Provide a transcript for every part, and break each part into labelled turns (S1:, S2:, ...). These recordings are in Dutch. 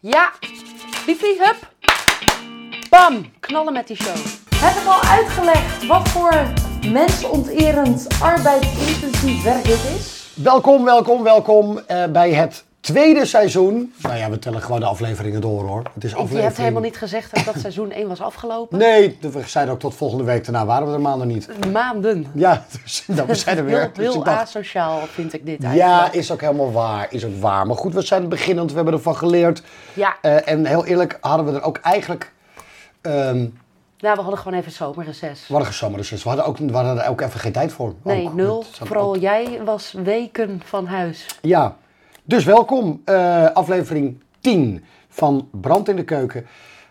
S1: Ja, Fifi, hup. Bam, knallen met die show.
S2: Heb ik al uitgelegd wat voor mensonterend, arbeidsintensief werk dit is?
S3: Welkom, welkom, welkom eh, bij het tweede seizoen. Nou ja, we tellen gewoon de afleveringen door hoor. Het is
S1: Je
S3: aflevering...
S1: hebt helemaal niet gezegd dat dat seizoen 1 was afgelopen.
S3: Nee, we zeiden ook tot volgende week. Daarna waren we er maanden niet.
S1: Maanden.
S3: Ja, dus dan, we zijn er weer.
S1: Heel,
S3: Dus
S1: heel
S3: ik dacht,
S1: asociaal vind ik dit
S3: ja,
S1: eigenlijk.
S3: is ook helemaal waar. Is ook waar. Maar goed, we zijn beginnend. We hebben ervan geleerd.
S1: Ja.
S3: Eh, en heel eerlijk hadden we er ook eigenlijk... ehm
S1: Nou, we hadden gewoon even zomerreces.
S3: we hadden zomerreces. We hadden, ook, we hadden er ook even geen tijd voor.
S1: Nee,
S3: Ook.
S1: nul.
S3: Oh, Dat zijn
S1: Vooral
S3: ook-
S1: jij was weken van huis.
S3: Ja, dus welkom. eh, aflevering 10 van Brand in de Keuken.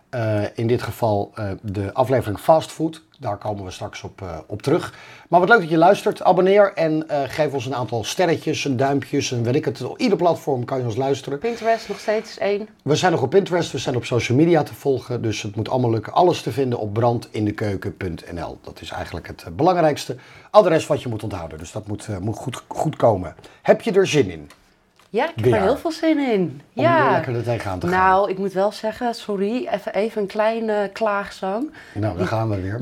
S3: Eh, in dit geval eh, de aflevering Fast Food. Daar komen we straks op, eh, op terug. Maar wat leuk dat je luistert. Abonneer en eh, geef ons een aantal sterretjes, een duimpjes en weet ik het. Op ieder platform kan je ons luisteren.
S1: Pinterest nog steeds één.
S3: We zijn nog op Pinterest, we zijn op social media te volgen. Dus het moet allemaal lukken. Alles te vinden op brandindekeuken.nl. Dat is eigenlijk het eh, belangrijkste adres wat je moet onthouden. Dus dat moet, eh, moet goed, goed komen. Heb je er zin in?
S1: Ja, ik heb
S3: Weer.
S1: er heel veel zin in.
S3: Om
S1: ja.
S3: weer lekker er tegenaan te gaan.
S1: Nou, ik moet wel zeggen, sorry, even, even een kleine klaagzang.
S3: Nou, daar gaan we weer.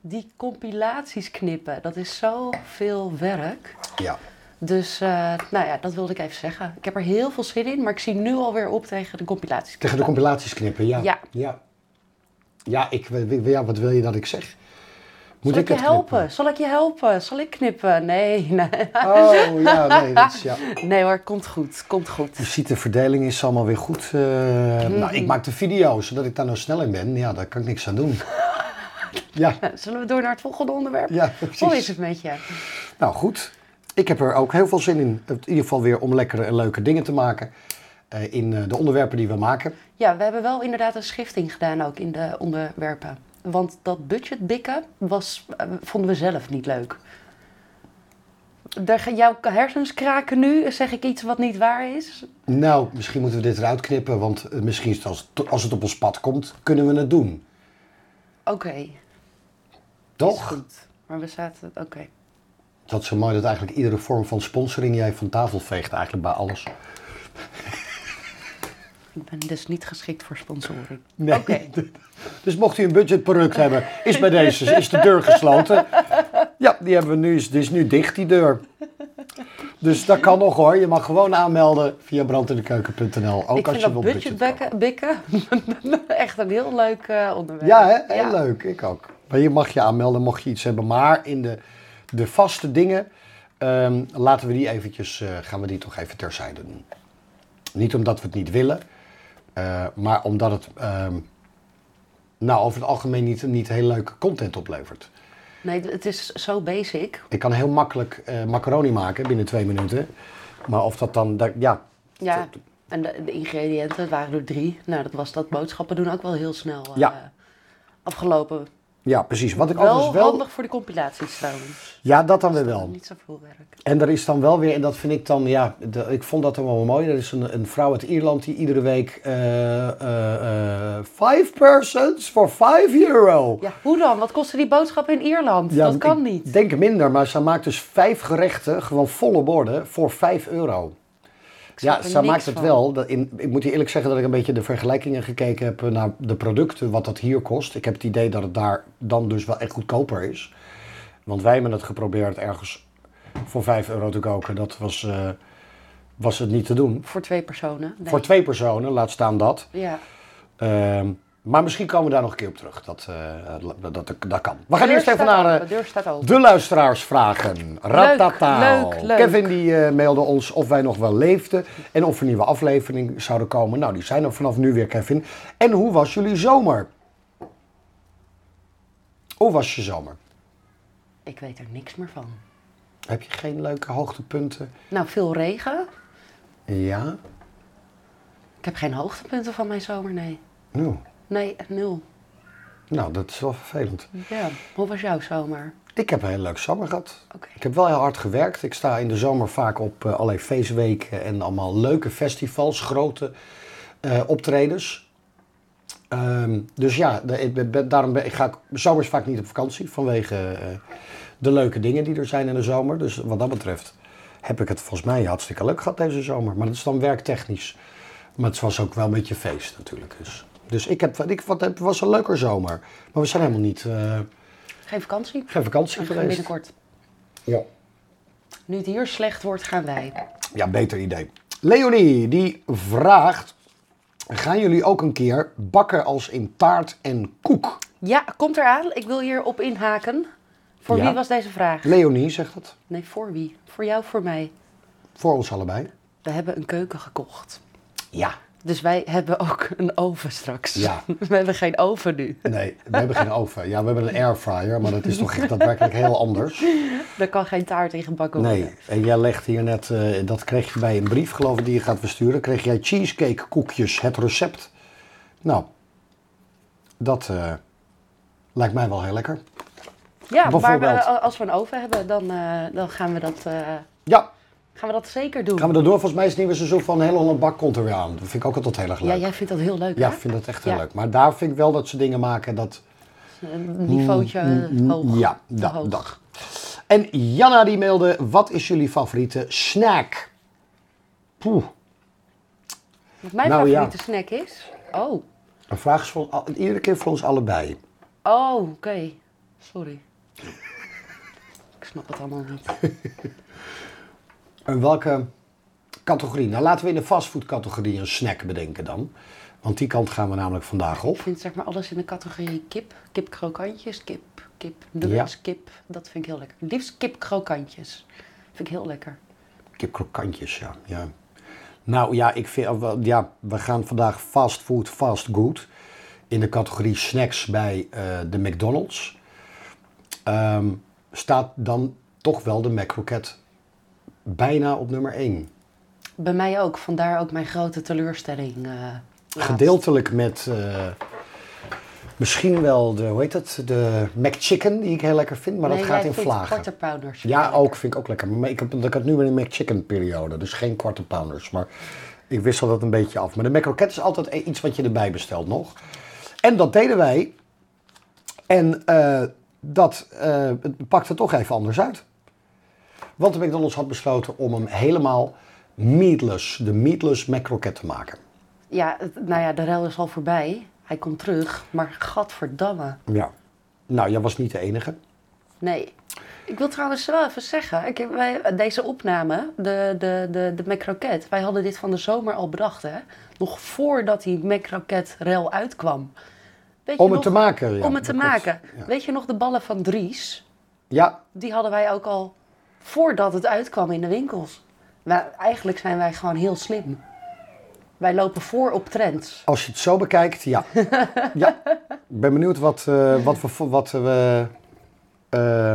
S1: Die compilaties knippen, dat is zoveel werk.
S3: Ja.
S1: Dus, eh, nou ja, dat wilde ik even zeggen. Ik heb er heel veel zin in, maar ik zie nu alweer op tegen de compilaties.
S3: Tegen de compilaties knippen, ja.
S1: Ja.
S3: Ja, ja, ik, ja wat wil je dat ik zeg? Moet
S1: Zal ik, je
S3: het knippen?
S1: helpen? Zal ik je helpen? Zal ik knippen? Nee, nee.
S3: Oh, ja, nee, dat is, ja.
S1: Nee hoor, komt goed, komt goed.
S3: Je ziet, de verdeling is allemaal weer goed. eh, Nou,
S1: Hmm.
S3: ik maak de video, zodat ik daar nou snel in ben. Ja, daar kan ik niks aan doen. ja,
S1: Zullen we door naar het volgende onderwerp?
S3: ja, precies.
S1: Hoe is het met je?
S3: Nou, goed. Ik heb er ook heel veel zin in. In ieder geval weer om lekkere en leuke dingen te maken. eh, in eh, de onderwerpen die we maken.
S1: Ja, we hebben wel inderdaad een schifting gedaan ook in de onderwerpen. Want dat budget bikken was, eh, vonden we zelf niet leuk. Daar gaan jouw hersens kraken nu, zeg ik iets wat niet waar is.
S3: Nou, misschien moeten we dit eruit knippen, want eh, misschien is het als, het- als het op ons pad komt, kunnen we het doen.
S1: Oké, is
S3: Toch?
S1: goed. Maar we zaten, oké.
S3: Dat is zo mooi dat eigenlijk iedere vorm van sponsoring jij van tafel veegt, eigenlijk bij alles.
S1: Ik ben dus niet geschikt voor sponsoring.
S3: Nee.
S1: Oké.
S3: Dus mocht u een budgetproduct hebben, is bij deze is de deur gesloten. Ja, die hebben we nu, is- die is nu dicht, die deur. Dus dat kan nog hoor. Je mag gewoon aanmelden via brandindekeuken.nl. Ook
S1: ik
S3: als
S1: vind
S3: je
S1: dat
S3: wilt
S1: budgetbikken bikken echt een heel leuk eh, onderwerp.
S3: Ja, hè? heel leuk. Ik ook. Maar je mag je aanmelden mocht je iets hebben. Maar in de, de vaste dingen ehm, laten we die eventjes, eh, gaan we die toch even terzijde doen. Niet omdat we het niet willen, eh, maar omdat het ehm, nou, over het algemeen niet, niet heel leuke content oplevert.
S1: Nee, het is zo basic.
S3: Ik kan heel makkelijk eh, macaroni maken binnen twee minuten. Maar of dat dan, dat- ja,
S1: Ja. En de, de ingrediënten, het waren er drie. Nou, dat was dat boodschappen doen ook wel heel snel eh,
S3: Ja.
S1: afgelopen.
S3: ja, precies. Wat ik
S1: Wel,
S3: overigens wel...
S1: handig voor de compilaties trouwens.
S3: Ja, dat dan weer wel.
S1: Niet zoveel werk.
S3: En er is dan wel weer, en dat vind ik dan, ja, de- ik vond dat dan wel mooi. Er is een, een vrouw uit Ierland die iedere week eh, eh, eh, five persons for five euro.
S1: Ja, hoe dan? Wat kostte die boodschap in Ierland? dat kan
S3: ik
S1: niet.
S3: Denk minder, maar ze maakt dus vijf gerechten, gewoon volle borden, voor vijf euro.
S1: snap
S3: Ja,
S1: er
S3: ze
S1: niks
S3: maakt het
S1: van.
S3: wel. dat in- ik moet je eerlijk zeggen dat ik een beetje de vergelijkingen gekeken heb eh, naar de producten, wat dat hier kost. Ik heb het idee dat het daar dan dus wel echt goedkoper is. Want wij hebben het geprobeerd ergens voor 5 euro te koken. Dat was, eh, was het niet te doen.
S1: Voor twee personen. Nee.
S3: Voor twee personen, laat staan dat.
S1: Ja.
S3: Ehm, maar misschien komen we daar nog een keer op terug. Dat, eh, dat, dat, dat kan. We gaan
S1: De
S3: eerst
S1: deur staat
S3: even naar
S1: open,
S3: eh,
S1: De deur staat open.
S3: de luisteraarsvragen. Ratata.
S1: leuk, leuk.
S3: Kevin die eh, mailde ons of wij nog wel leefden en of er nieuwe afleveringen zouden komen. Nou, die zijn er vanaf nu weer, Kevin. En hoe was jullie zomer? Hoe was je zomer?
S1: Ik weet er niks meer van.
S3: Heb je geen leuke hoogtepunten?
S1: Nou, veel regen.
S3: Ja.
S1: Ik heb geen hoogtepunten van mijn zomer, nee.
S3: Nou,
S1: Nee, nul.
S3: nou, dat is wel vervelend.
S1: Ja, hoe was jouw zomer?
S3: Ik heb een heel leuk zomer gehad.
S1: Oké.
S3: Ik heb wel heel hard gewerkt. Ik sta in de zomer vaak op eh, allerlei feestweken en allemaal leuke festivals, grote eh, optredens. Ehm, dus ja, de- ik ben- ben- daarom ben, ik ga ik zomers vaak niet op vakantie vanwege eh, de leuke dingen die er zijn in de zomer. Dus wat dat betreft heb ik het volgens mij hartstikke leuk gehad deze zomer. Maar dat is dan werktechnisch. Maar het was ook wel een beetje feest natuurlijk. Dus, dus ik heb, ik, wat, het was een leuker zomer. Maar we zijn helemaal niet, eh,
S1: Geen vakantie.
S3: geen vakantie
S1: We gaan
S3: geweest.
S1: binnenkort.
S3: Ja.
S1: Nu het hier slecht wordt, gaan wij.
S3: ja, beter idee. Leonie, die vraagt, gaan jullie ook een keer bakken als in taart en koek?
S1: Ja, komt eraan. Ik wil hierop inhaken. Voor
S3: Ja.
S1: wie was deze vraag?
S3: Leonie zegt dat,
S1: Nee, voor wie? Voor jou, voor mij.
S3: voor ons allebei.
S1: We hebben een keuken gekocht.
S3: Ja.
S1: Dus wij hebben ook een oven straks.
S3: Ja.
S1: We hebben geen oven nu.
S3: Nee, we hebben geen oven. Ja, we hebben een airfryer, maar dat is toch echt daadwerkelijk heel anders.
S1: Er kan geen taart in gebakken worden.
S3: Nee, en jij legt hier net, eh, dat kreeg je bij een brief geloof ik die je gaat versturen, kreeg jij cheesecake koekjes, het recept. Nou, dat eh, lijkt mij wel heel lekker.
S1: Ja, maar we- eh,
S3: Bijvoorbeeld.
S1: als we een oven hebben, dan, eh, dan gaan, we dat, eh,
S3: Ja,
S1: gaan we dat zeker doen.
S3: gaan we dat door. Volgens mij is het nieuwe seizoen van Heel Holland Bak komt er weer aan. Dat vind ik ook altijd heel erg leuk.
S1: Ja, jij vindt dat heel leuk,
S3: Ja,
S1: hè?
S3: ik vind dat echt heel
S1: Ja.
S3: leuk. Maar daar vind ik wel dat ze dingen maken dat...
S1: Een niveautje eh, hoog.
S3: mm, Ja,
S1: Te hoog.
S3: dat, dat. En Janna die mailde, wat is jullie favoriete snack? Poeh,
S1: Wat mijn
S3: Nou, ja.
S1: favoriete snack is? Oh,
S3: een vraag is voor, al- iedere keer voor ons allebei.
S1: oh oké. Sorry. Ik snap het allemaal niet.
S3: In welke categorie? Nou, laten we in de fastfoodcategorie een snack bedenken dan. Want die kant gaan we namelijk vandaag
S1: Ik
S3: op.
S1: vind zeg maar alles in de categorie kip. Kip krokantjes, kip, kip nuggets,
S3: Ja.
S1: kip. Dat vind ik heel lekker. Het Liefst kip krokantjes. Vind ik heel lekker.
S3: Kip krokantjes, ja. ja. Nou ja, ik vind, eh, wel- ja, we gaan vandaag fastfood, fastgood. In de categorie snacks bij eh, de McDonald's. Ehm, staat dan toch wel de McCroket bijna op nummer 1.
S1: Bij mij ook. Vandaar ook mijn grote teleurstelling. eh, laatst.
S3: Gedeeltelijk met eh, misschien wel de, hoe heet het, de McChicken die ik heel lekker vind. Maar
S1: Nee,
S3: dat gaat
S1: jij
S3: in
S1: vindt
S3: vlagen.
S1: Quarterpounders.
S3: Ja, ook vind ik ook lekker. Maar ik, heb, ik had nu weer een McChicken periode, dus geen quarter pounders. Maar ik wissel dat een beetje af. Maar de McCroquette is altijd e- iets wat je erbij bestelt nog. En dat deden wij. En eh, dat eh, het pakte toch even anders uit. Want de McDonald's had besloten om hem helemaal meatless, de meatless McCroquette te maken.
S1: Ja, het- nou ja, de rel is al voorbij. Hij komt terug, maar gadverdamme.
S3: Ja. Nou, jij was niet de enige.
S1: Nee. Ik wil trouwens wel even zeggen, ik, heb- wij, deze opname, de, de, de, de McCroquet, wij hadden dit van de zomer al bedacht, hè? Nog voordat die McCroquet rel uitkwam. Weet
S3: Om het
S1: nog-
S3: te maken. ja,
S1: om het te
S3: dat klopt.
S1: maken.
S3: Ja.
S1: Weet je nog de ballen van Dries?
S3: ja,
S1: Die hadden wij ook al voordat het uitkwam in de winkels. Maar eigenlijk zijn wij gewoon heel slim. Wij lopen voor op trends.
S3: Als je het zo bekijkt, ja. ja. Ik ben benieuwd wat, eh, wat we, vo- wat we eh,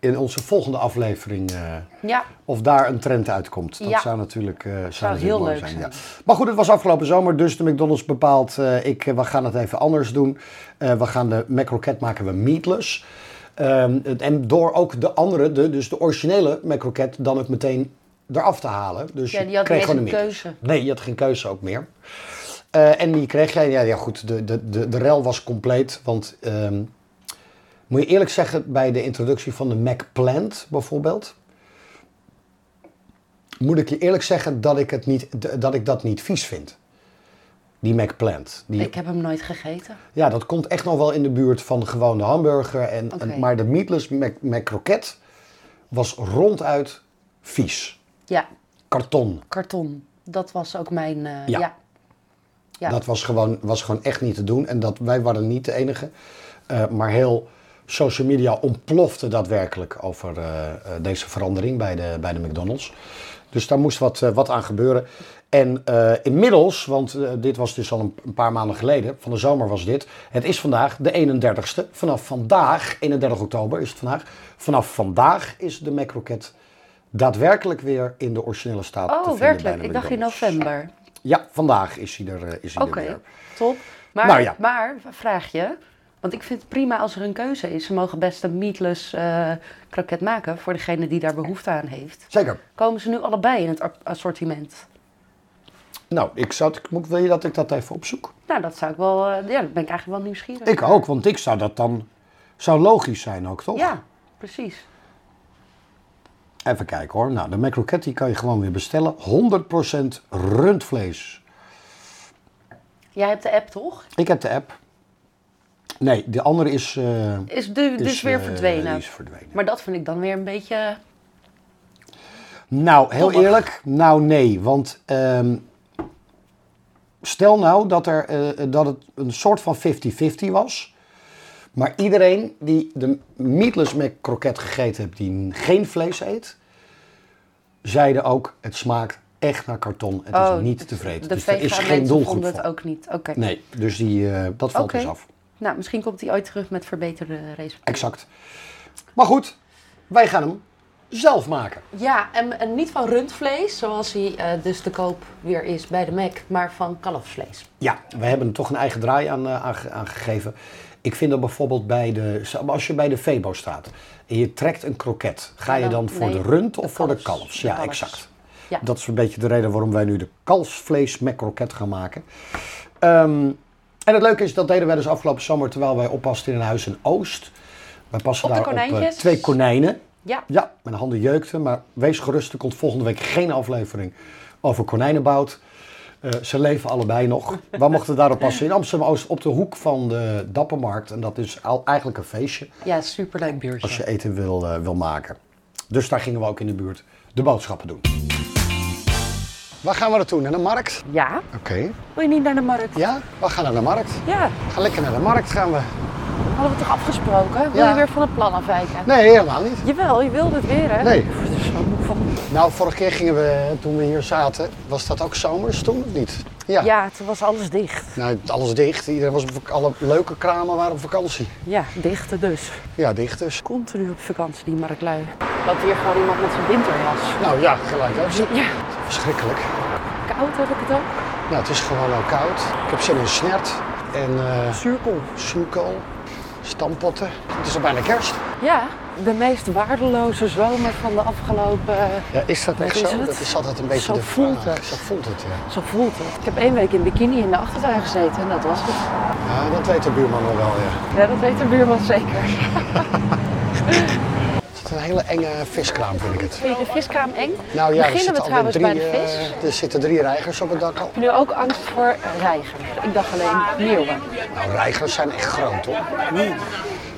S3: in onze volgende aflevering. eh,
S1: Ja,
S3: of daar een trend uitkomt. Dat
S1: Ja.
S3: zou natuurlijk, eh, zou
S1: Zou
S3: natuurlijk
S1: heel
S3: mooi
S1: leuk zijn.
S3: Maar goed, het was afgelopen zomer, dus de McDonald's bepaalt. eh, ik, eh, we gaan het even anders doen. Eh, we gaan de McRocket maken we meatless. Ehm, het- en door ook de andere, de, dus de originele McRocket, dan ook meteen eraf te halen. Dus
S1: Ja, die
S3: je
S1: had
S3: kreeg
S1: niet eens
S3: gewoon
S2: een
S3: een meatless.
S1: keuze.
S3: Nee, je had geen keuze ook meer. Eh, en die kreeg jij, ja, ja goed, de, de, de, de rel was compleet. Want ehm, moet je eerlijk zeggen, bij de introductie van de Mac Plant bijvoorbeeld, moet ik je eerlijk zeggen dat ik, het niet, d- dat, ik dat niet vies vind. Die Mac Plant. Die,
S1: ik heb hem nooit gegeten.
S3: Ja, dat komt echt nog wel in de buurt van de gewone hamburger. En, en-
S1: Oké.
S3: maar de meatless Mac, Mac Croquette was ronduit vies.
S1: Ja,
S3: Karton.
S1: karton. Dat was ook mijn... eh,
S3: Ja.
S1: ja. ja.
S3: Dat was gewoon, was gewoon echt niet te doen. En dat, wij waren niet de enige. Eh, maar heel social media ontplofte daadwerkelijk over eh, eh, deze verandering bij de, bij de McDonald's. Dus daar moest wat, eh, wat aan gebeuren. En eh, inmiddels, want eh, dit was dus al een, een paar maanden geleden, van de zomer was dit. Het is vandaag de 31ste. Vanaf vandaag, 31 oktober is het vandaag. Vanaf vandaag is de McRocket daadwerkelijk weer in de originele staat te
S1: Oh,
S3: vinden bij
S1: werkelijk.
S3: de
S1: Ik dacht in
S3: McDonald's.
S1: november.
S3: Ja, vandaag is hij er, eh, is hij
S1: Oké,
S3: er weer.
S1: top. Maar,
S3: Nou ja.
S1: maar, vraag je... Want ik vind het prima als er een keuze is. Ze mogen best een meatless eh kroket maken voor degene die daar behoefte aan heeft.
S3: Zeker.
S1: Komen ze nu allebei in het ar- assortiment?
S3: Nou, ik zou, het- moet- wil je dat ik dat even opzoek?
S1: Nou, dat zou ik wel... eh, ja, dat ben ik eigenlijk wel nieuwsgierig.
S3: Ik ook, want ik zou dat dan... Zou logisch zijn ook, toch?
S1: Ja, precies.
S3: Even kijken hoor. Nou, de macroquette die kan je gewoon weer bestellen. 100% rundvlees.
S1: Jij hebt de app toch?
S3: Ik heb de app. Nee, de andere is... eh,
S1: Is du- dus
S3: is,
S1: weer
S3: eh,
S1: verdwenen.
S3: die is verdwenen.
S1: Maar dat vind ik dan weer een beetje.
S3: Nou, heel
S1: Dommig.
S3: eerlijk, nou nee. Want ehm, stel nou dat, er, eh, dat het een soort van 50-50 was. Maar iedereen die de meatless mac kroket gegeten heeft, die geen vlees eet, zeiden ook, het smaakt echt naar karton. Het
S1: oh,
S3: is niet
S1: dus
S3: te vreten.
S1: De
S3: Dus er
S1: vega
S3: is geen
S1: mensen
S3: doelgroep
S1: vonden
S3: van.
S1: het ook niet. Oké.
S3: Nee, dus die, eh, dat valt
S1: Oké.
S3: dus af.
S1: Nou, misschien komt die ooit terug met verbeterde resultaten.
S3: Exact. Maar goed, wij gaan hem zelf maken.
S1: Ja, en, en niet van rundvlees, zoals hij eh, dus te koop weer is bij de Mac, maar van kalfsvlees.
S3: Ja, we hebben er toch een eigen draai aan, eh, aange- aan gegeven. Ik vind dat bijvoorbeeld bij de, als je bij de Febo staat en je trekt een kroket, ga
S1: Ja,
S3: je
S1: dan-
S3: dan voor
S1: nee,
S3: de rund
S1: de
S3: of voor de
S1: kalfs.
S3: kalfs?
S1: De
S3: Ja,
S1: kalfs.
S3: exact.
S1: Ja.
S3: Dat is een beetje de reden waarom wij nu de kalfsvlees met kroket gaan maken. Ehm, en het leuke is, dat deden wij dus afgelopen zomer terwijl wij oppasten in een huis in Oost. Wij passen
S1: Op de
S3: daar op eh,
S1: konijntjes?
S3: twee konijnen.
S1: Ja,
S3: Ja, mijn handen jeukten, maar wees gerust, er komt volgende week geen aflevering over konijnenbout. Eh, ze leven allebei nog. We mochten daarop passen in Amsterdam-Oost op de hoek van de Dappermarkt. En dat is al eigenlijk een feestje
S1: ja superleuk
S3: als je
S1: biertje.
S3: eten wil, eh, wil maken. Dus daar gingen we ook in de buurt de boodschappen doen. Waar gaan we naartoe? Naar de markt?
S1: Ja,
S3: Oké.
S1: wil je niet naar de markt?
S3: Ja, we gaan naar de markt.
S1: Ja,
S3: We gaan lekker naar de markt gaan we.
S1: hadden we toch afgesproken? Wil
S3: Ja.
S1: je weer van het plan afwijken?
S3: Nee, helemaal niet.
S1: Jawel, je wilde het weer, hè?
S3: Nee.
S1: Ik word er zo moe van.
S3: Nou, vorige keer gingen we, toen we hier zaten, was dat ook zomers toen of niet?
S1: Ja, toen was alles dicht.
S3: Nou, alles dicht. Iedereen was op vak- alle leuke kramen waren op vakantie.
S1: Ja, dicht dus.
S3: Ja, dicht dus.
S1: Continu op vakantie, die marklui. Dat hier gewoon iemand met zijn winterjas.
S3: Nou ja, gelijk hè.
S1: Ja,
S3: Verschrikkelijk.
S1: koud heb ik het ook.
S3: Nou, het is gewoon al koud. Ik heb zin in snert en eh
S1: Zuurkool.
S3: zuurkool, stampotten. Het is al bijna kerst.
S1: Ja, de meest waardeloze zomer van de afgelopen... eh,
S3: Ja, is dat echt
S1: is
S3: zo?
S1: het.
S3: Dat is altijd een beetje
S1: Zo
S3: de
S1: voelt
S3: vraag.
S1: het.
S3: Zo voelt het, ja.
S1: Zo voelt het. Ik heb één week in bikini in de achtertuin gezeten en dat was het.
S3: ja. Dat weet de buurman nog wel, ja.
S1: Ja, dat weet de buurman zeker.
S3: Het is een hele enge viskraam, vind ik het.
S1: Vind je de viskraam eng?
S3: Nou ja,
S1: Beginnen
S3: er
S1: we
S3: zitten
S1: trouwens
S3: alweer drie,
S1: bij de vis?
S3: eh, er zitten drie reigers op het dak al.
S1: Ik heb nu ook angst voor reigers. Ik dacht alleen meeuwen.
S3: Nou, reigers zijn echt groot, hoor.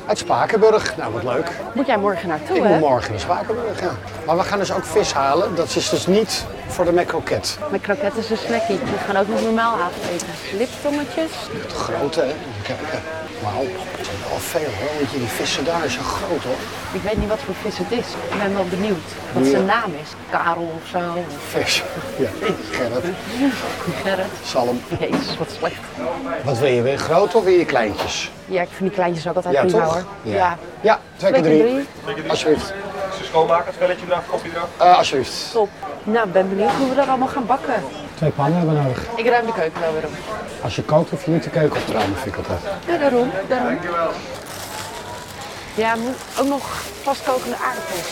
S3: Uit Spakenburg. Nou, wat leuk.
S1: Moet jij morgen naartoe,
S3: Ik
S1: hè?
S3: moet morgen naar Spakenburg, ja. Maar we gaan dus ook vis halen. Dat is dus niet voor de macroket.
S1: Mijn kroket is een snackie. We gaan ook nog normaal avondeten. Liptongetjes.
S3: Het grote, hè. Kijk, hè. Wauw, dat zijn wel veel, hoor. Want die vissen daar zijn groot, hoor.
S1: Ik weet niet wat voor vis het is. Ik ben wel benieuwd wat zijn naam is. Karel of zo. Of
S3: Vis. Ja, Gerrit.
S1: Gerrit.
S3: Salm.
S1: Jezus, wat slecht.
S3: Wat wil je, weer groot of weer je kleintjes?
S1: Ja, ik vind die kleintjes ook altijd
S3: Ja,
S1: prima,
S3: toch?
S1: hoor.
S3: Ja, ja twee keer
S1: Twee keer
S3: drie. Alsjeblieft.
S4: Ze schoonmaken, het spelletje eraf, koffie eraf.
S3: Eh, alsjeblieft.
S1: Top. Nou, ik ben benieuwd hoe we dat allemaal gaan bakken.
S3: Twee pannen hebben we nodig.
S1: Ik ruim de keuken wel weer op.
S3: Als je kookt, hoef je niet de keuken op te ruimen, vind ik altijd.
S1: Ja, daarom. daarom. Ja, moet ook nog vastkokende aardappels.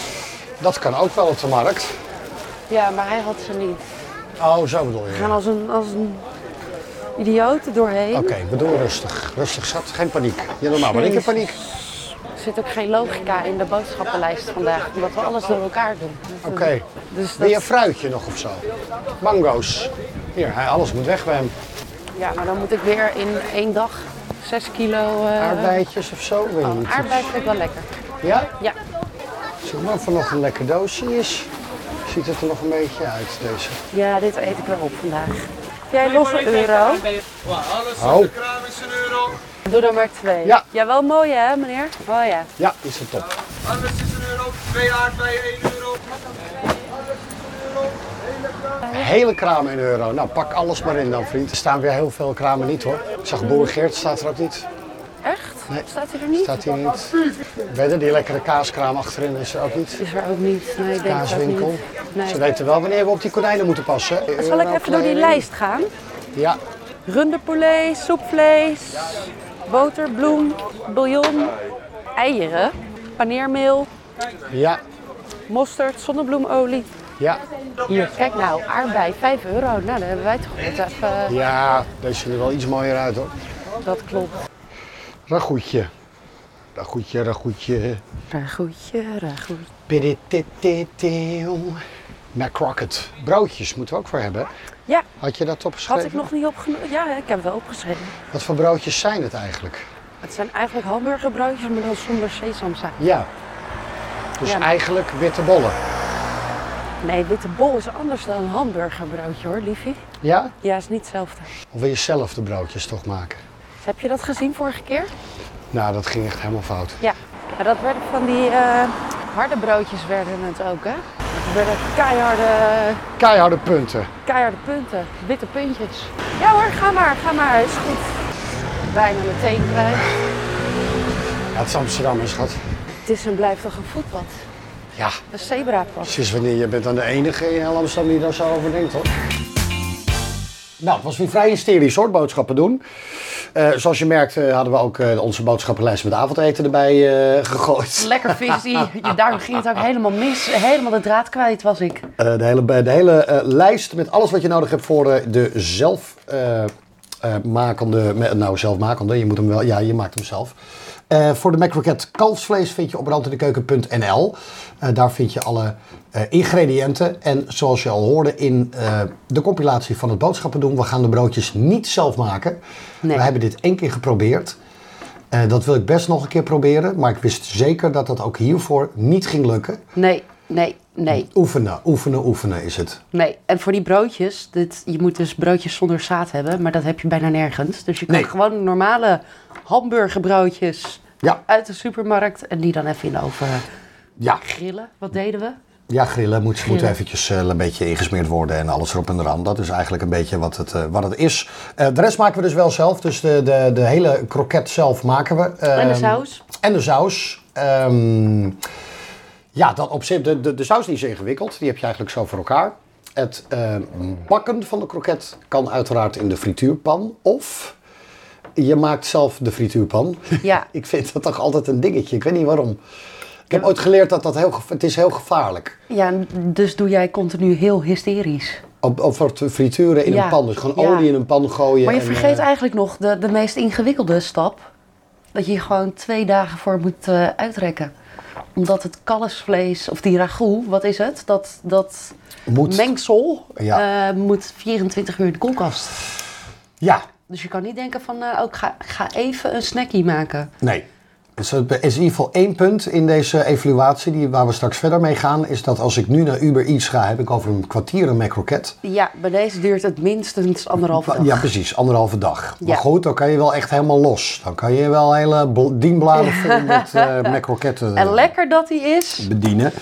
S3: Dat kan ook wel op de markt.
S1: Ja, maar hij had ze niet.
S3: Oh, zo bedoel je.
S1: We gaan als een, als een idioot er doorheen.
S3: Oké, we doen rustig. Rustig, schat. Geen paniek. Ja, normaal ben ik in
S1: Jezus.
S3: paniek.
S1: Er zit ook geen logica in de boodschappenlijst vandaag, omdat we alles door elkaar doen.
S3: Oké.
S1: Dus
S3: Wil je een
S1: dat,
S3: fruitje nog of zo? Mango's. Hier, hij- alles moet weg bij hem.
S1: ja, maar dan moet ik weer in één dag 6 kilo eh
S3: Aardbeidjes of zo? Weet je niet.
S1: aardbei vind ik wel lekker.
S3: Ja?
S1: Ja,
S3: Zeg maar, of er nog een lekker doosje is. Ziet het er nog een beetje uit, deze.
S1: ja dit eet ik wel op vandaag. Jij losse euro.
S3: Oh,
S1: Doe er maar twee.
S3: Ja.
S1: wel mooi hè meneer? Oh ja.
S3: ja, is het top.
S4: Alles is een euro, twee aardbeien, 1 euro.
S3: Hele kraam in euro. Nou, pak alles maar in dan, vriend. Er staan weer heel veel kramen niet, hoor. Ik zag boer Geert, staat er ook niet.
S1: Echt?
S3: Nee.
S1: Staat hij er niet?
S3: Staat hier niet. Verder, die lekkere kaaskraam achterin is er ook niet.
S1: Is er ook niet. Nee, ik denk het ook
S3: Kaaswinkel.
S1: niet. Nee.
S3: Ze weten wel wanneer we op die konijnen moeten passen.
S1: Zal ik even door die lijst gaan?
S3: Ja,
S1: Runderpolet, soepvlees, boter, bloem, bouillon, eieren, paneermeel,
S3: ja,
S1: mosterd, zonnebloemolie.
S3: ja.
S1: Hier, kijk nou, aardbei, 5 euro. Nou, dan hebben wij toch goed even... eh,
S3: Ja, deze ziet er wel iets mooier uit, hoor.
S1: Dat klopt.
S3: Ragoetje. Ragoetje, ragoetje.
S1: Ragoedje, ragoed.
S3: Pidititititio. Naar Crockett. Broodjes moeten we ook voor hebben. hè?
S1: Ja.
S3: Had je dat opgeschreven?
S1: Had ik nog niet opgenomen? Ja, ik heb wel opgeschreven.
S3: Wat voor broodjes zijn het eigenlijk?
S1: Het zijn eigenlijk hamburgerbroodjes, maar dan zonder sesamzaad.
S3: Ja. Dus
S1: Ja.
S3: eigenlijk witte bollen.
S1: Nee, witte bol is anders dan een hamburgerbroodje hoor, liefie.
S3: Ja?
S1: Ja, is niet hetzelfde.
S3: Of wil je zelf de broodjes toch maken?
S1: Heb je dat gezien vorige keer?
S3: Nou, dat ging echt helemaal fout.
S1: Ja. Maar dat werden van die eh, harde broodjes werden het ook, hè? Dat werden keiharde,
S3: Keiharde punten.
S1: keiharde punten, witte puntjes. Ja hoor, ga maar, ga maar, is goed. Bijna meteen kwijt.
S3: Ja, het is Amsterdam, schat.
S1: Het is en blijft toch een voetpad?
S3: Ja,
S1: Een zebrapad.
S3: sinds wanneer? Je bent dan de enige in heel Amsterdam die daar zo over denkt, hoor. Nou, het was weer vrij hysterisch hoor, boodschappen doen. Eh, zoals je merkt eh, hadden we ook eh, onze boodschappenlijst met avondeten erbij eh, gegooid.
S1: Lekker visie. Je, daarom ging het ook helemaal mis. Helemaal de draad kwijt was ik.
S3: Eh, de hele, de hele eh, lijst met alles wat je nodig hebt voor eh, de eh, zelfmakende. nou, zelfmakende, je moet hem wel. Ja, je maakt hem zelf. Eh, voor de McRocket kalfsvlees vind je op branddendekeuken.nl. Eh daar vind je alle eh, ingrediënten. En zoals je al hoorde in eh, de compilatie van het boodschappen doen, we gaan de broodjes niet zelf maken.
S1: Nee.
S3: We hebben dit één keer geprobeerd. Eh, dat wil ik best nog een keer proberen. Maar ik wist zeker dat dat ook hiervoor niet ging lukken.
S1: Nee, nee, nee,
S3: Oefenen, oefenen, oefenen is het.
S1: nee. En voor die broodjes, dit, je moet dus broodjes zonder zaad hebben, maar dat heb je bijna nergens. Dus je kan
S3: Nee.
S1: gewoon normale hamburgerbroodjes
S3: Ja.
S1: uit de supermarkt en die dan even in de oven
S3: Ja,
S1: grillen. Wat deden we?
S3: ja grillen moet, moet
S1: Grillen.
S3: eventjes eh, een beetje ingesmeerd worden en alles erop en eraan. Dat is eigenlijk een beetje wat het, eh, wat het is. Eh, de rest maken we dus wel zelf, dus de, de, de hele kroket zelf maken we.
S1: en de
S3: Ehm,
S1: saus?
S3: En de saus. Ehm, ja, dat op zich, de, de, de saus is niet zo ingewikkeld, die heb je eigenlijk zo voor elkaar. Het eh, bakken van de kroket kan uiteraard in de frituurpan of... Je maakt zelf de frituurpan.
S1: Ja.
S3: ik vind dat toch altijd een dingetje. Ik weet niet waarom. Ik heb ooit geleerd dat dat heel, geva- het is heel gevaarlijk is.
S1: Ja, dus doe jij continu heel hysterisch.
S3: Op, op voor het frituren in
S1: Ja.
S3: een pan. Dus gewoon
S1: Ja.
S3: olie in een pan gooien.
S1: Maar je
S3: en,
S1: vergeet
S3: eh,
S1: eigenlijk nog de, de meest ingewikkelde stap. Dat je hier gewoon twee dagen voor moet eh, uitrekken. Omdat het kalfsvlees, of die ragout, wat is het? Dat, dat
S3: Moet-
S1: mengsel
S3: Ja.
S1: eh, moet 24 uur in de koelkast.
S3: Ja,
S1: Dus je kan niet denken van, eh, oh, ik ga, ik ga even een snackie maken.
S3: nee. Dus het is in ieder geval één punt in deze evaluatie die, waar we straks verder mee gaan. Is dat als ik nu naar Uber Eats ga, heb ik over een kwartier een macroket.
S1: Ja, bij deze duurt het minstens anderhalve dag.
S3: Ja, precies. Anderhalve dag.
S1: Ja.
S3: Maar goed, dan kan je wel echt helemaal los. Dan kan je wel hele bl- dienbladen vol met eh macroketten.
S1: En lekker dat die is.
S3: bedienen.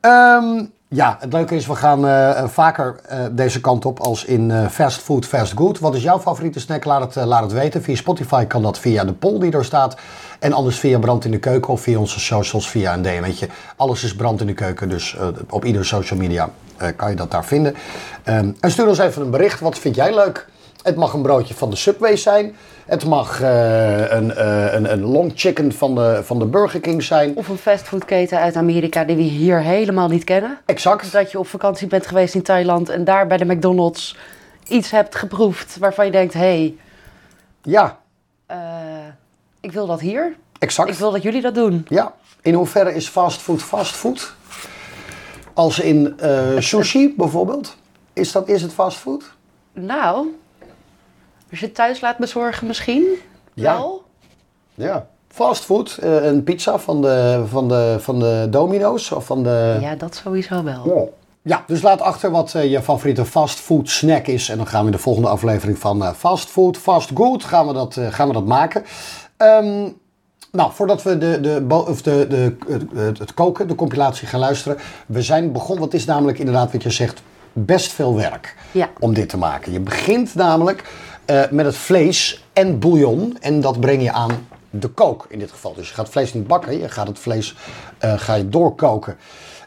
S3: Ehm, ja, het leuke is, we gaan eh, eh, vaker eh, deze kant op als in eh, fast food, fast good. Wat is jouw favoriete snack? Laat het, eh, laat het weten. Via Spotify kan dat via de poll die er staat. En anders via Brand in de Keuken of via onze socials, via een DM'tje. Alles is Brand in de Keuken, dus eh, op ieder social media eh, kan je dat daar vinden. Ehm, en stuur ons even een bericht. Wat vind jij leuk? Het mag een broodje van de Subway zijn. Het mag eh, een, eh, een, een long chicken van de, van de Burger King zijn.
S1: Of een fastfoodketen uit Amerika die we hier helemaal niet kennen.
S3: Exact.
S1: dat je op vakantie bent geweest in Thailand en daar bij de McDonald's iets hebt geproefd waarvan je denkt: hé, hey,
S3: Ja,
S1: eh, ik wil dat hier. Ik
S3: exact.
S1: wil dat jullie dat doen.
S3: Ja. In hoeverre is fastfood fastfood? Als in eh, sushi bijvoorbeeld. Is, dat, is het fastfood?
S1: Nou, als je het thuis laat bezorgen, misschien
S3: Ja.
S1: wel.
S3: Ja. Fastfood, eh, een pizza van de, van, de, van de Domino's of van de...
S1: Ja, dat sowieso wel.
S3: Oh. Ja, dus laat achter wat eh, je favoriete fastfood snack is. En dan gaan we in de volgende aflevering van eh fastfood, fastgood, gaan we dat, eh, gaan we dat maken. Ehm, nou, voordat we de, de, bo- of de, de, eh, het koken, de compilatie gaan luisteren. We zijn begonnen, want het is namelijk inderdaad wat je zegt, best veel werk
S1: Ja.
S3: om dit te maken. Je begint namelijk eh, met het vlees en bouillon. En dat breng je aan de kook in dit geval. Dus je gaat het vlees niet bakken, je gaat het vlees eh, ga je doorkoken.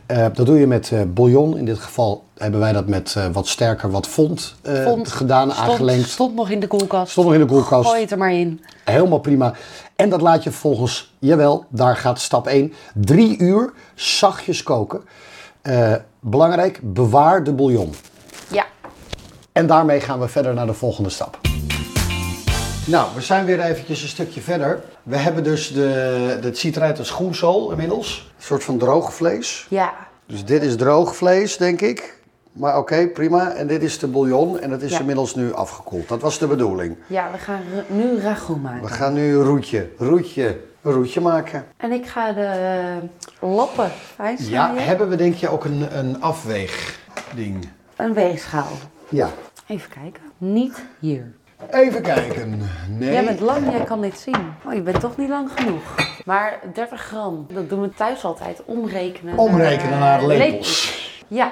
S3: Eh, dat doe je met eh, bouillon. In dit geval hebben wij dat met eh, wat sterker, wat fond, eh,
S1: Vond-
S3: gedaan,
S1: stond,
S3: aangelengd.
S1: Stond nog in de koelkast.
S3: Stond nog in de koelkast.
S1: Gooi het er maar in.
S3: Helemaal prima. En dat laat je volgens, jawel, daar gaat stap 1. Drie uur zachtjes koken. Eh, belangrijk, bewaar de bouillon.
S1: Ja.
S3: En daarmee gaan we verder naar de volgende stap. Nou, we zijn weer eventjes een stukje verder. We hebben dus de, het ziet eruit als groenzool inmiddels. Een soort van droog vlees.
S1: Ja.
S3: Dus dit is droog vlees, denk ik. Maar oké, prima. En dit is de bouillon en dat is
S1: Ja.
S3: inmiddels nu afgekoeld. Dat was de bedoeling.
S1: Ja, we gaan r- nu ragout maken.
S3: We gaan nu een roetje, roetje, een roetje maken.
S1: En ik ga de eh, lappen fijn
S3: Ja,
S1: snijden.
S3: hebben we denk je ook een, een afweegding?
S1: Een weegschaal.
S3: Ja.
S1: Even kijken. Niet hier.
S3: Even kijken.
S1: Jij
S3: Nee.
S1: bent lang, jij kan dit zien. Oh, je bent toch niet lang genoeg. Maar 30 gram, dat doen we thuis altijd. Omrekenen.
S3: Omrekenen naar Eh, lepels. Dus
S1: Ja,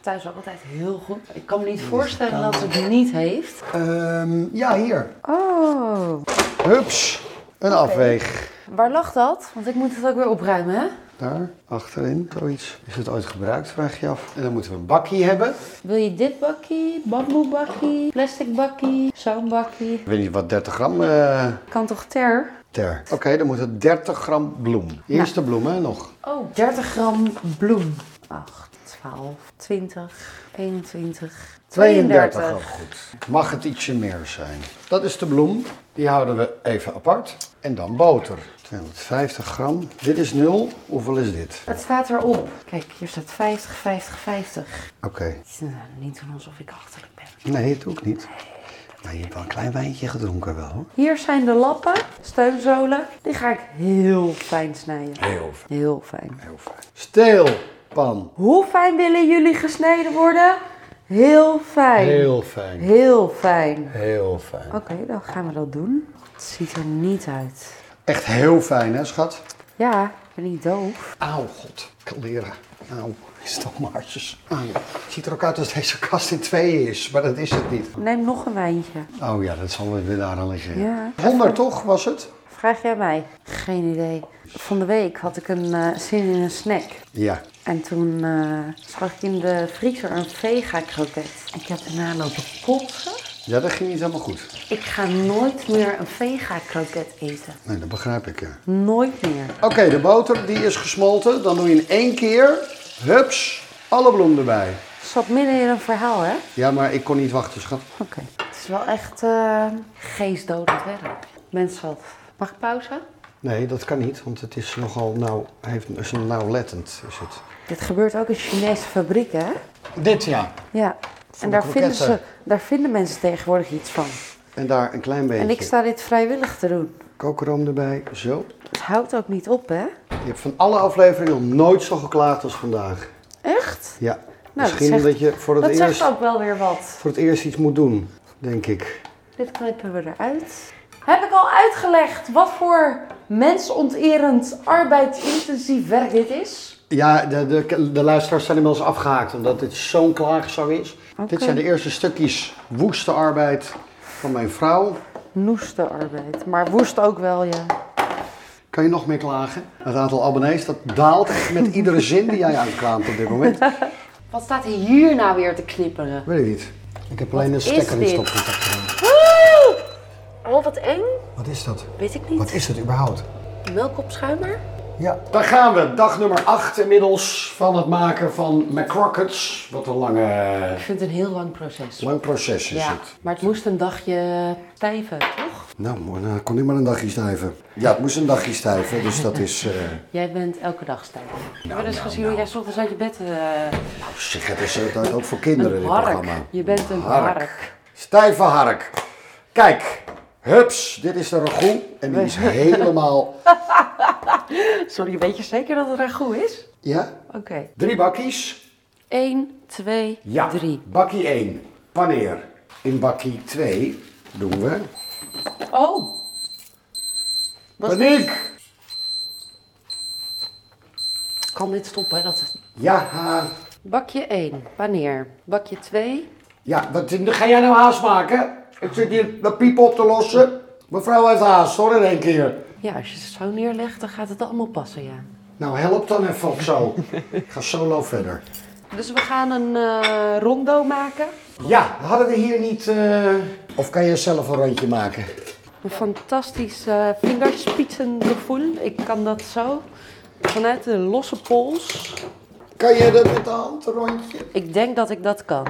S1: thuis ook altijd heel goed. Ik kan me niet voorstellen dat het het niet heeft.
S3: Ehm, ja, hier.
S1: Oh.
S3: Hups. Een afweeg.
S1: Waar lag dat? Want ik moet het ook weer opruimen, hè?
S3: Daar, achterin, zoiets. Is het ooit gebruikt, vraag je af. En dan moeten we een bakkie hebben.
S1: Wil je dit bakkie, bamboe bakkie, plastic bakkie, zo'n bakkie?
S3: Ik weet niet wat 30 gram eh,
S1: Kan toch ter?
S3: ter. Oké, dan moet het 30 gram bloem. Eerst de bloem, hè, nog.
S1: Oh, 30 gram bloem. 8, 12, 20, 21,
S3: 32, oh,
S1: 32.
S3: goed. Mag het ietsje meer zijn. Dat is de bloem. Die houden we even apart. En dan boter. 250 gram. Dit is 0. Hoeveel is dit?
S1: Het staat erop. Kijk, hier staat 50, 50, 50.
S3: Oké.
S1: Het is nou, niet doen alsof ik achterlijk ben.
S3: Nee, het ook niet. Maar je hebt wel een klein wijntje gedronken wel hoor.
S1: Hier zijn de lappen, steunzolen. Die ga ik heel fijn snijden.
S3: Heel fijn.
S1: Heel fijn.
S3: Heel fijn. Steelpan.
S1: Hoe fijn willen jullie gesneden worden? Heel fijn.
S3: Heel fijn.
S1: Heel fijn.
S3: Heel fijn.
S1: Oké, dan gaan we dat doen. Het ziet er niet uit.
S3: Echt heel fijn hè schat?
S1: Ja, ik ben niet doof.
S3: Auw, god. Kleren. Auw. Is dat maartjes? Auw. Het ziet er ook uit als deze kast in tweeën is, maar dat is het niet.
S1: Neem nog een wijntje.
S3: Oh ja, dat zal weer daar aan liggen.
S1: Ja.
S3: 100 toch was het?
S1: Vraag jij mij? Geen idee. Van de week had ik een eh, zin in een snack.
S3: Ja.
S1: En toen eh, zag ik in de vriezer een vega kroket. Ik heb daarna lopen kotsen.
S3: Ja, dat ging niet helemaal goed.
S1: Ik ga nooit meer een vega kroket eten.
S3: Nee, dat begrijp ik. ja.
S1: Nooit meer.
S3: Oké, de boter die is gesmolten. Dan doe je in één keer, hups, alle bloem erbij.
S1: Zat midden in een verhaal, hè?
S3: Ja, maar ik kon niet wachten, schat.
S1: Oké. Het is wel echt eh geestdodend werk. Mensen, wat? Mag ik pauze?
S3: Nee, dat kan niet, want het is nogal nauw, heeft, is nauwlettend, is het.
S1: Dit gebeurt ook in Chinese fabrieken, hè?
S3: Dit, ja.
S1: Ja.
S3: Van
S1: En
S3: de
S1: daar vinden, ze,
S3: kroketten.
S1: daar vinden mensen tegenwoordig iets van.
S3: En daar een klein beetje.
S1: En ik sta dit vrijwillig te doen.
S3: Kokeroom erbij, zo.
S1: Het houdt ook niet op, hè?
S3: Je hebt van alle afleveringen nog nooit zo geklaagd als vandaag.
S1: Echt?
S3: Ja.
S1: Nou, dat
S3: Misschien
S1: zegt-
S3: dat je voor het,
S1: Dat
S3: eerst,
S1: zegt ook wel weer wat.
S3: voor het eerst iets moet doen, denk ik.
S1: Dit knippen we eruit.
S2: Heb ik al uitgelegd wat voor mensonterend, arbeidsintensief werk dit is?
S3: Ja, de, de, de luisteraars zijn inmiddels afgehaakt, omdat dit zo'n klaagzang is. Dit zijn de eerste stukjes woeste arbeid van mijn vrouw.
S1: Noeste arbeid. Maar woest ook wel, ja.
S3: Kan je nog meer klagen? Het aantal abonnees, dat daalt met iedere zin die jij aankraamt op dit moment.
S1: Wat staat hier nou weer te knipperen?
S3: Weet ik niet. Ik heb alleen een
S1: is
S3: stekker in
S1: dit?
S3: stopcontact gedaan.
S1: Oh, wat eng.
S3: Wat is dat?
S1: Weet ik niet.
S3: Wat is dat überhaupt?
S1: Melk op schuimer?
S3: Ja. Daar gaan we. Dag nummer 8 inmiddels van het maken van McCrockets. Wat een lange,
S1: Ik vind het een heel lang proces.
S3: lang proces is
S1: Ja,
S3: het.
S1: maar het moest een dagje stijven, toch?
S3: Nou, mooi, nou, kon ik maar een dagje stijven. Ja, het moest een dagje stijven, dus dat is... eh,
S1: Jij bent elke dag stijf. ik heb wel eens
S3: nou,
S1: gezien
S3: nou.
S1: hoe jij 's ochtends uit je bed... eh
S3: Nou, zeg, het is het ook voor kinderen,
S1: een
S3: dit
S1: hark.
S3: programma.
S1: Je bent een
S3: Hark.
S1: hark.
S3: Stijve hark. Kijk, hups, dit is de ragout en die is helemaal...
S1: Sorry, weet je zeker dat het ragout is?
S3: Ja?
S1: Oké.
S3: Drie bakkies.
S1: 1, 2,
S3: Ja,
S1: 3.
S3: bakkie 1. Wanneer? In bakkie 2 doen we...
S1: Oh!
S3: Paniek!
S1: Kan dit stoppen? hè? Dat...
S3: Ja, ha.
S1: Bakje 1, paneer. Bakje 2.
S3: ja, wat ga jij nou haast maken? Ik zit hier de piep op te lossen. Mevrouw heeft haast hoor in één keer.
S1: Ja, als je het zo neerlegt, dan gaat het allemaal passen, ja.
S3: Nou, help dan even of zo. Ik ga solo verder.
S1: Dus we gaan een eh, rondo maken.
S3: Ja, hadden we hier niet... eh, Of kan je zelf een rondje maken?
S1: Een fantastisch eh vingerspitsengevoel. Ik kan dat zo. Vanuit de losse pols.
S3: Kan je dat met de hand, een rondje?
S1: Ik denk dat ik dat kan.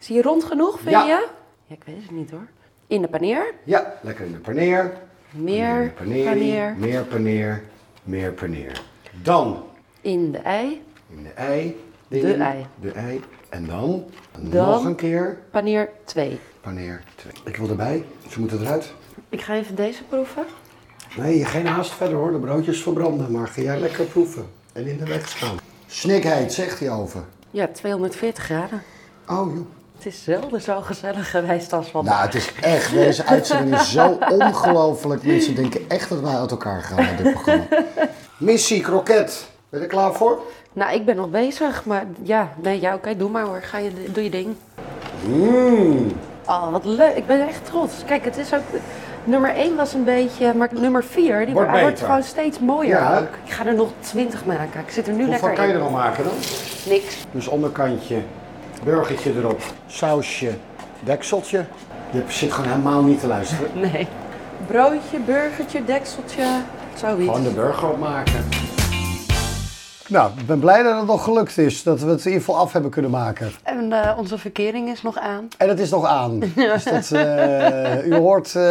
S1: Is hier rond genoeg, vind
S3: Ja.
S1: je? Ja, ik weet het niet hoor. In de paneer.
S3: Ja, lekker in de paneer.
S1: Meer
S3: paneer.
S1: paneer.
S3: Meer paneer. Meer paneer. Dan
S1: In de ei.
S3: in de ei. erin,
S2: De ei.
S3: De ei. En dan, nog
S2: Dan?
S3: een keer
S2: Paneer 2.
S3: paneer 2. Ik wil erbij, ze moeten eruit.
S2: Ik ga even deze proeven.
S3: Nee, geen haast verder hoor, de broodjes verbranden. Maar ga jij lekker proeven en in de weg staan. Snikheid, zegt die oven.
S2: Ja, 240 graden.
S3: Oh joh.
S2: Het is zelden zo gezellig geweest als vandaag.
S3: Nou, het is echt, deze uitzending is zo ongelooflijk. Mensen denken echt dat wij uit elkaar gaan met dit programma. Missie, kroket. Ben je er klaar voor?
S2: Nou, ik ben nog bezig, maar ja, nee, ja, oké, doe maar hoor. Ga je, doe je ding.
S3: Mm.
S2: Oh, wat leuk. Ik ben echt trots. Kijk, het is ook... Nummer 1 was een beetje, maar nummer 4, die
S3: Wordt
S2: wordt, wordt
S3: beter.
S2: gewoon steeds mooier
S3: Ja.
S2: ook. Ik ga er nog 20 maken. Ik zit er nu
S3: Hoeveel
S2: lekker
S3: kan je
S2: in.
S3: er al maken dan?
S2: Niks.
S3: Dus onderkantje, burgertje erop, sausje, dekseltje. Je zit gewoon helemaal niet te luisteren.
S2: Nee. Broodje, burgertje, dekseltje, zoiets.
S3: Gewoon de burger opmaken. Nou, ik ben blij dat het nog gelukt is. Dat we het in ieder geval af hebben kunnen maken.
S1: En eh, onze verkering is nog aan.
S3: En het is nog aan. Dus dat, eh, u hoort... eh,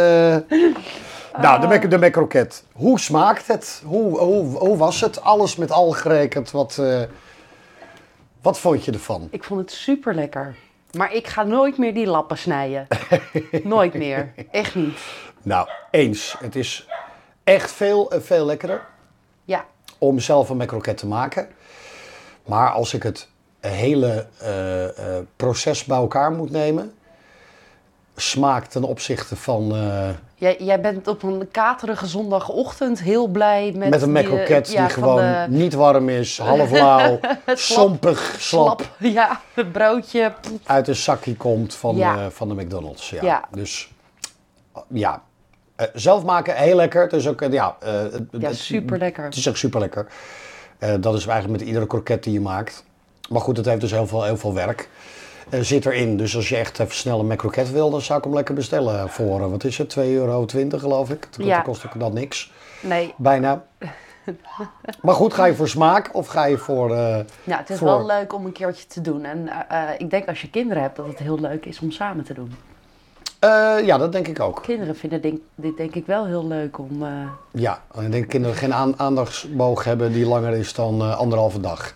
S3: Nou, de, mac, de macroket. Hoe smaakt het? Hoe, hoe, hoe was het? Alles met al gerekend. Wat, eh, wat vond je ervan?
S1: Ik vond het super lekker. Maar ik ga nooit meer die lappen snijden. nooit meer. Echt niet.
S3: Nou, eens. Het is echt veel, eh, veel lekkerder.
S1: Ja,
S3: om zelf een macroket te maken. Maar als ik het hele eh, eh, proces bij elkaar moet nemen, smaakt ten opzichte van eh,
S1: jij, jij bent op een katerige zondagochtend heel blij met...
S3: met, een
S1: die, eh,
S3: macroket die,
S1: ja, van
S3: gewoon
S1: de
S3: niet warm is, half lauw, sompig, slap,
S1: slap. Ja, het broodje.
S3: uit een zakje komt van,
S1: Ja.
S3: eh, van de McDonald's. Ja.
S1: Ja.
S3: Dus ja, Eh, zelf maken heel lekker. Het is ook eh, ja, eh, het-
S1: Ja,
S3: het-
S1: super lekker.
S3: Het is dus ook super lekker. dat is eigenlijk met iedere kroket die je maakt. Maar goed, het heeft dus heel veel, heel veel werk. Eh, zit erin. Dus als je echt even snel een macroket wil, dan zou ik hem lekker bestellen voor, eh, wat is het, 2,20 euro geloof ik. Dat
S1: Ja.
S3: kost ook dan niks.
S1: Nee,
S3: Bijna. Maar goed, ga je voor smaak of ga je voor... eh,
S1: nou, het is
S3: voor-
S1: wel leuk om een keertje te doen. En eh, eh, ik denk als je kinderen hebt dat het heel leuk is om samen te doen.
S3: Eh, ja, dat denk ik ook.
S1: Kinderen vinden denk- dit denk ik wel heel leuk om... eh,
S3: Ja, en ik denk dat kinderen geen aan- aandachtsboog hebben die langer is dan eh, anderhalve dag.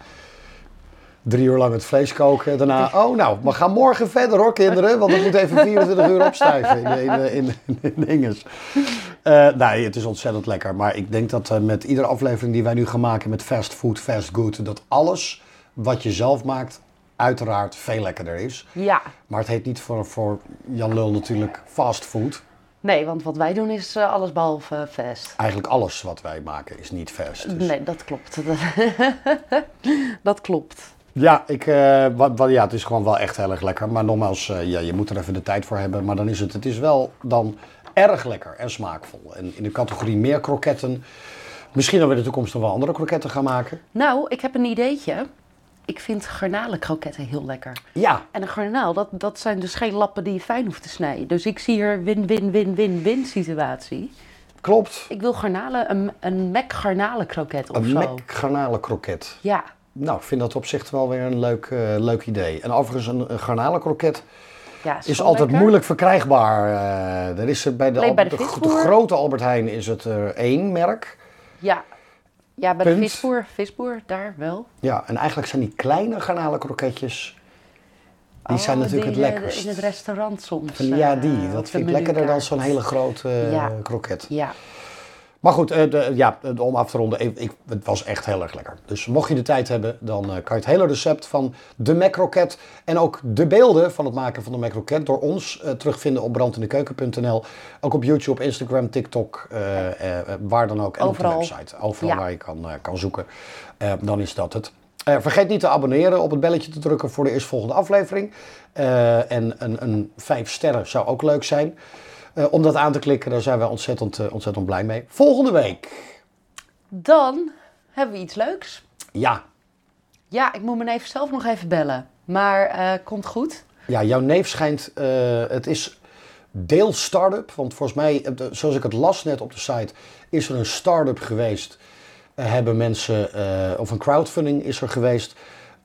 S3: Drie uur lang het vlees koken. Daarna, oh nou, we gaan morgen verder hoor kinderen. Want het moet even 24 uur opstijven in, in, in, in, in dinges. Eh, nee, het is ontzettend lekker. Maar ik denk dat eh, met iedere aflevering die wij nu gaan maken met fast food, fast good. Dat alles wat je zelf maakt uiteraard veel lekkerder is.
S1: ja,
S3: Maar het heet niet voor, voor Jan Lul natuurlijk fast food.
S1: nee, want wat wij doen is eh, alles behalve eh, fast.
S3: Eigenlijk alles wat wij maken is niet fast. Dus-
S1: Nee, dat klopt. dat klopt.
S3: Ja, ik, eh, wat, wat- ja, het is gewoon wel echt heel erg lekker. Maar nogmaals, eh, ja, je moet er even de tijd voor hebben. Maar dan is het, het is wel dan erg lekker en smaakvol. En in de categorie meer kroketten. Misschien dat we in de toekomst nog wel andere kroketten gaan maken.
S1: Nou, ik heb een ideetje. Ik vind garnalenkroketten heel lekker.
S3: Ja,
S1: En een garnaal, dat, dat zijn dus geen lappen die je fijn hoeft te snijden. Dus ik zie hier win-win-win-win-win situatie.
S3: klopt.
S1: Ik wil garnalen, een, een Mac garnalenkroket of
S3: Een
S1: zo.
S3: Mac garnalenkroket.
S1: Ja,
S3: Nou, ik vind dat op zich wel weer een leuk, eh, leuk idee. En overigens, een, een garnalenkroket
S1: ja
S3: is
S1: zo
S3: altijd
S1: lekker.
S3: moeilijk verkrijgbaar. Eh, er is er bij de,
S1: Alleen bij de
S3: Albert- de
S1: visboer.
S3: grote Albert Heijn is het er één merk.
S1: Ja, ja bij de
S3: Punt.
S1: visboer, visboer, daar wel.
S3: Ja, en eigenlijk zijn die kleine garnalenkroketjes, die zijn
S1: Oh,
S3: natuurlijk
S1: die,
S3: het
S1: eh,
S3: lekkerst.
S1: In het restaurant soms.
S3: Van- ja,
S1: eh,
S3: die.
S1: op
S3: Dat
S1: de
S3: vind ik lekkerder dan
S1: menukaart.
S3: zo'n hele grote eh,
S1: Ja.
S3: kroket.
S1: Ja,
S3: Maar goed, eh, de, ja, eh, om af te ronden, ik, ik- het was echt heel erg lekker. Dus mocht je de tijd hebben, dan eh, kan je het hele recept van de macroket en ook de beelden van het maken van de macroket door ons eh, terugvinden op brandindekeuken.nl. Ook op YouTube, Instagram, TikTok, eh, eh, eh, waar dan ook. En
S1: Overal.
S3: op de website. Overal
S1: Ja.
S3: waar je kan, eh, kan zoeken. Eh, dan is dat het. Eh, vergeet niet te abonneren, op het belletje te drukken voor de eerstvolgende aflevering. Eh, en een, een vijf sterren zou ook leuk zijn. Eh, om dat aan te klikken, daar zijn wij ontzettend, eh, ontzettend blij mee. Volgende week.
S1: dan hebben we iets leuks.
S3: Ja.
S1: Ja, ik moet me even zelf nog even bellen. Maar eh, komt goed.
S3: ja, jouw neef schijnt. eh, het is deel start-up. Want volgens mij, eh, de- zoals ik het las net op de site, is er een start-up geweest. Eh, hebben mensen, eh, of een crowdfunding is er geweest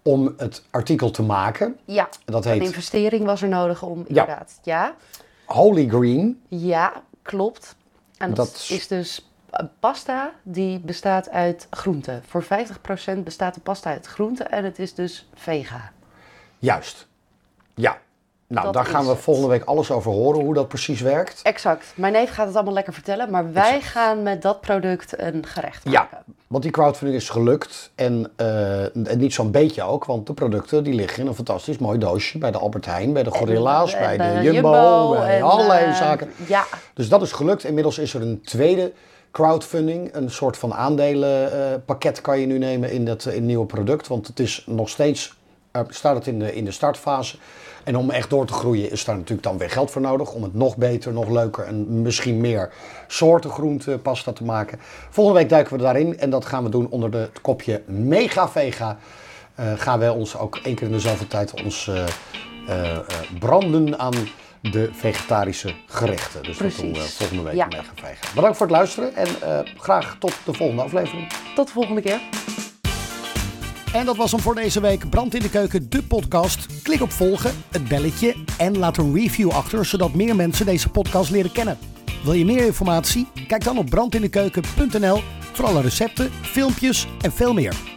S3: om het artikel te maken.
S1: Ja,
S3: Dat
S1: een
S3: heet
S1: investering was er nodig om, inderdaad. Ja,
S3: Holy Green.
S1: ja, klopt. En dat,
S3: Dat-
S1: is dus een pasta die bestaat uit groenten. Voor 50% bestaat de pasta uit groenten en het is dus vega.
S3: Juist. Ja. Nou,
S1: Dat
S3: daar gaan
S1: is
S3: we
S1: het.
S3: volgende week alles over horen, hoe dat precies werkt.
S1: Exact. Mijn neef gaat het allemaal lekker vertellen, maar wij gaan met dat product een gerecht
S3: Ja,
S1: maken.
S3: want die crowdfunding is gelukt. En, eh, en niet zo'n beetje ook, want de producten die liggen in een fantastisch mooi doosje. Bij de Albert Heijn, bij de Gorilla's,
S1: En,
S3: bij
S1: eh,
S3: de Jumbo, bij
S1: en,
S3: allerlei
S1: eh,
S3: zaken.
S1: Ja,
S3: Dus dat is gelukt. Inmiddels is er een tweede crowdfunding. Een soort van aandelenpakket kan je nu nemen in dat eh, in het nieuwe product. Want het is nog steeds, eh, staat het in de, in de startfase. En om echt door te groeien is daar natuurlijk dan weer geld voor nodig. Om het nog beter, nog leuker en misschien meer soorten groente pasta te maken. Volgende week duiken we daarin. En dat gaan we doen onder de, het kopje Mega Vega. Eh, gaan wij ons ook één keer in de zoveel tijd ons eh, eh, eh, branden aan de vegetarische gerechten. Dus dat doen we
S1: Precies.
S3: volgende week
S1: Ja.
S3: mee gaan vegen. Bedankt voor het luisteren en eh, graag tot de volgende aflevering.
S1: tot de volgende keer.
S3: En dat was hem voor deze week. Brand in de keuken, de podcast. Klik op volgen, het belletje en laat een review achter, zodat meer mensen deze podcast leren kennen. Wil je meer informatie? Kijk dan op brandindekeuken.nl voor alle recepten, filmpjes en veel meer.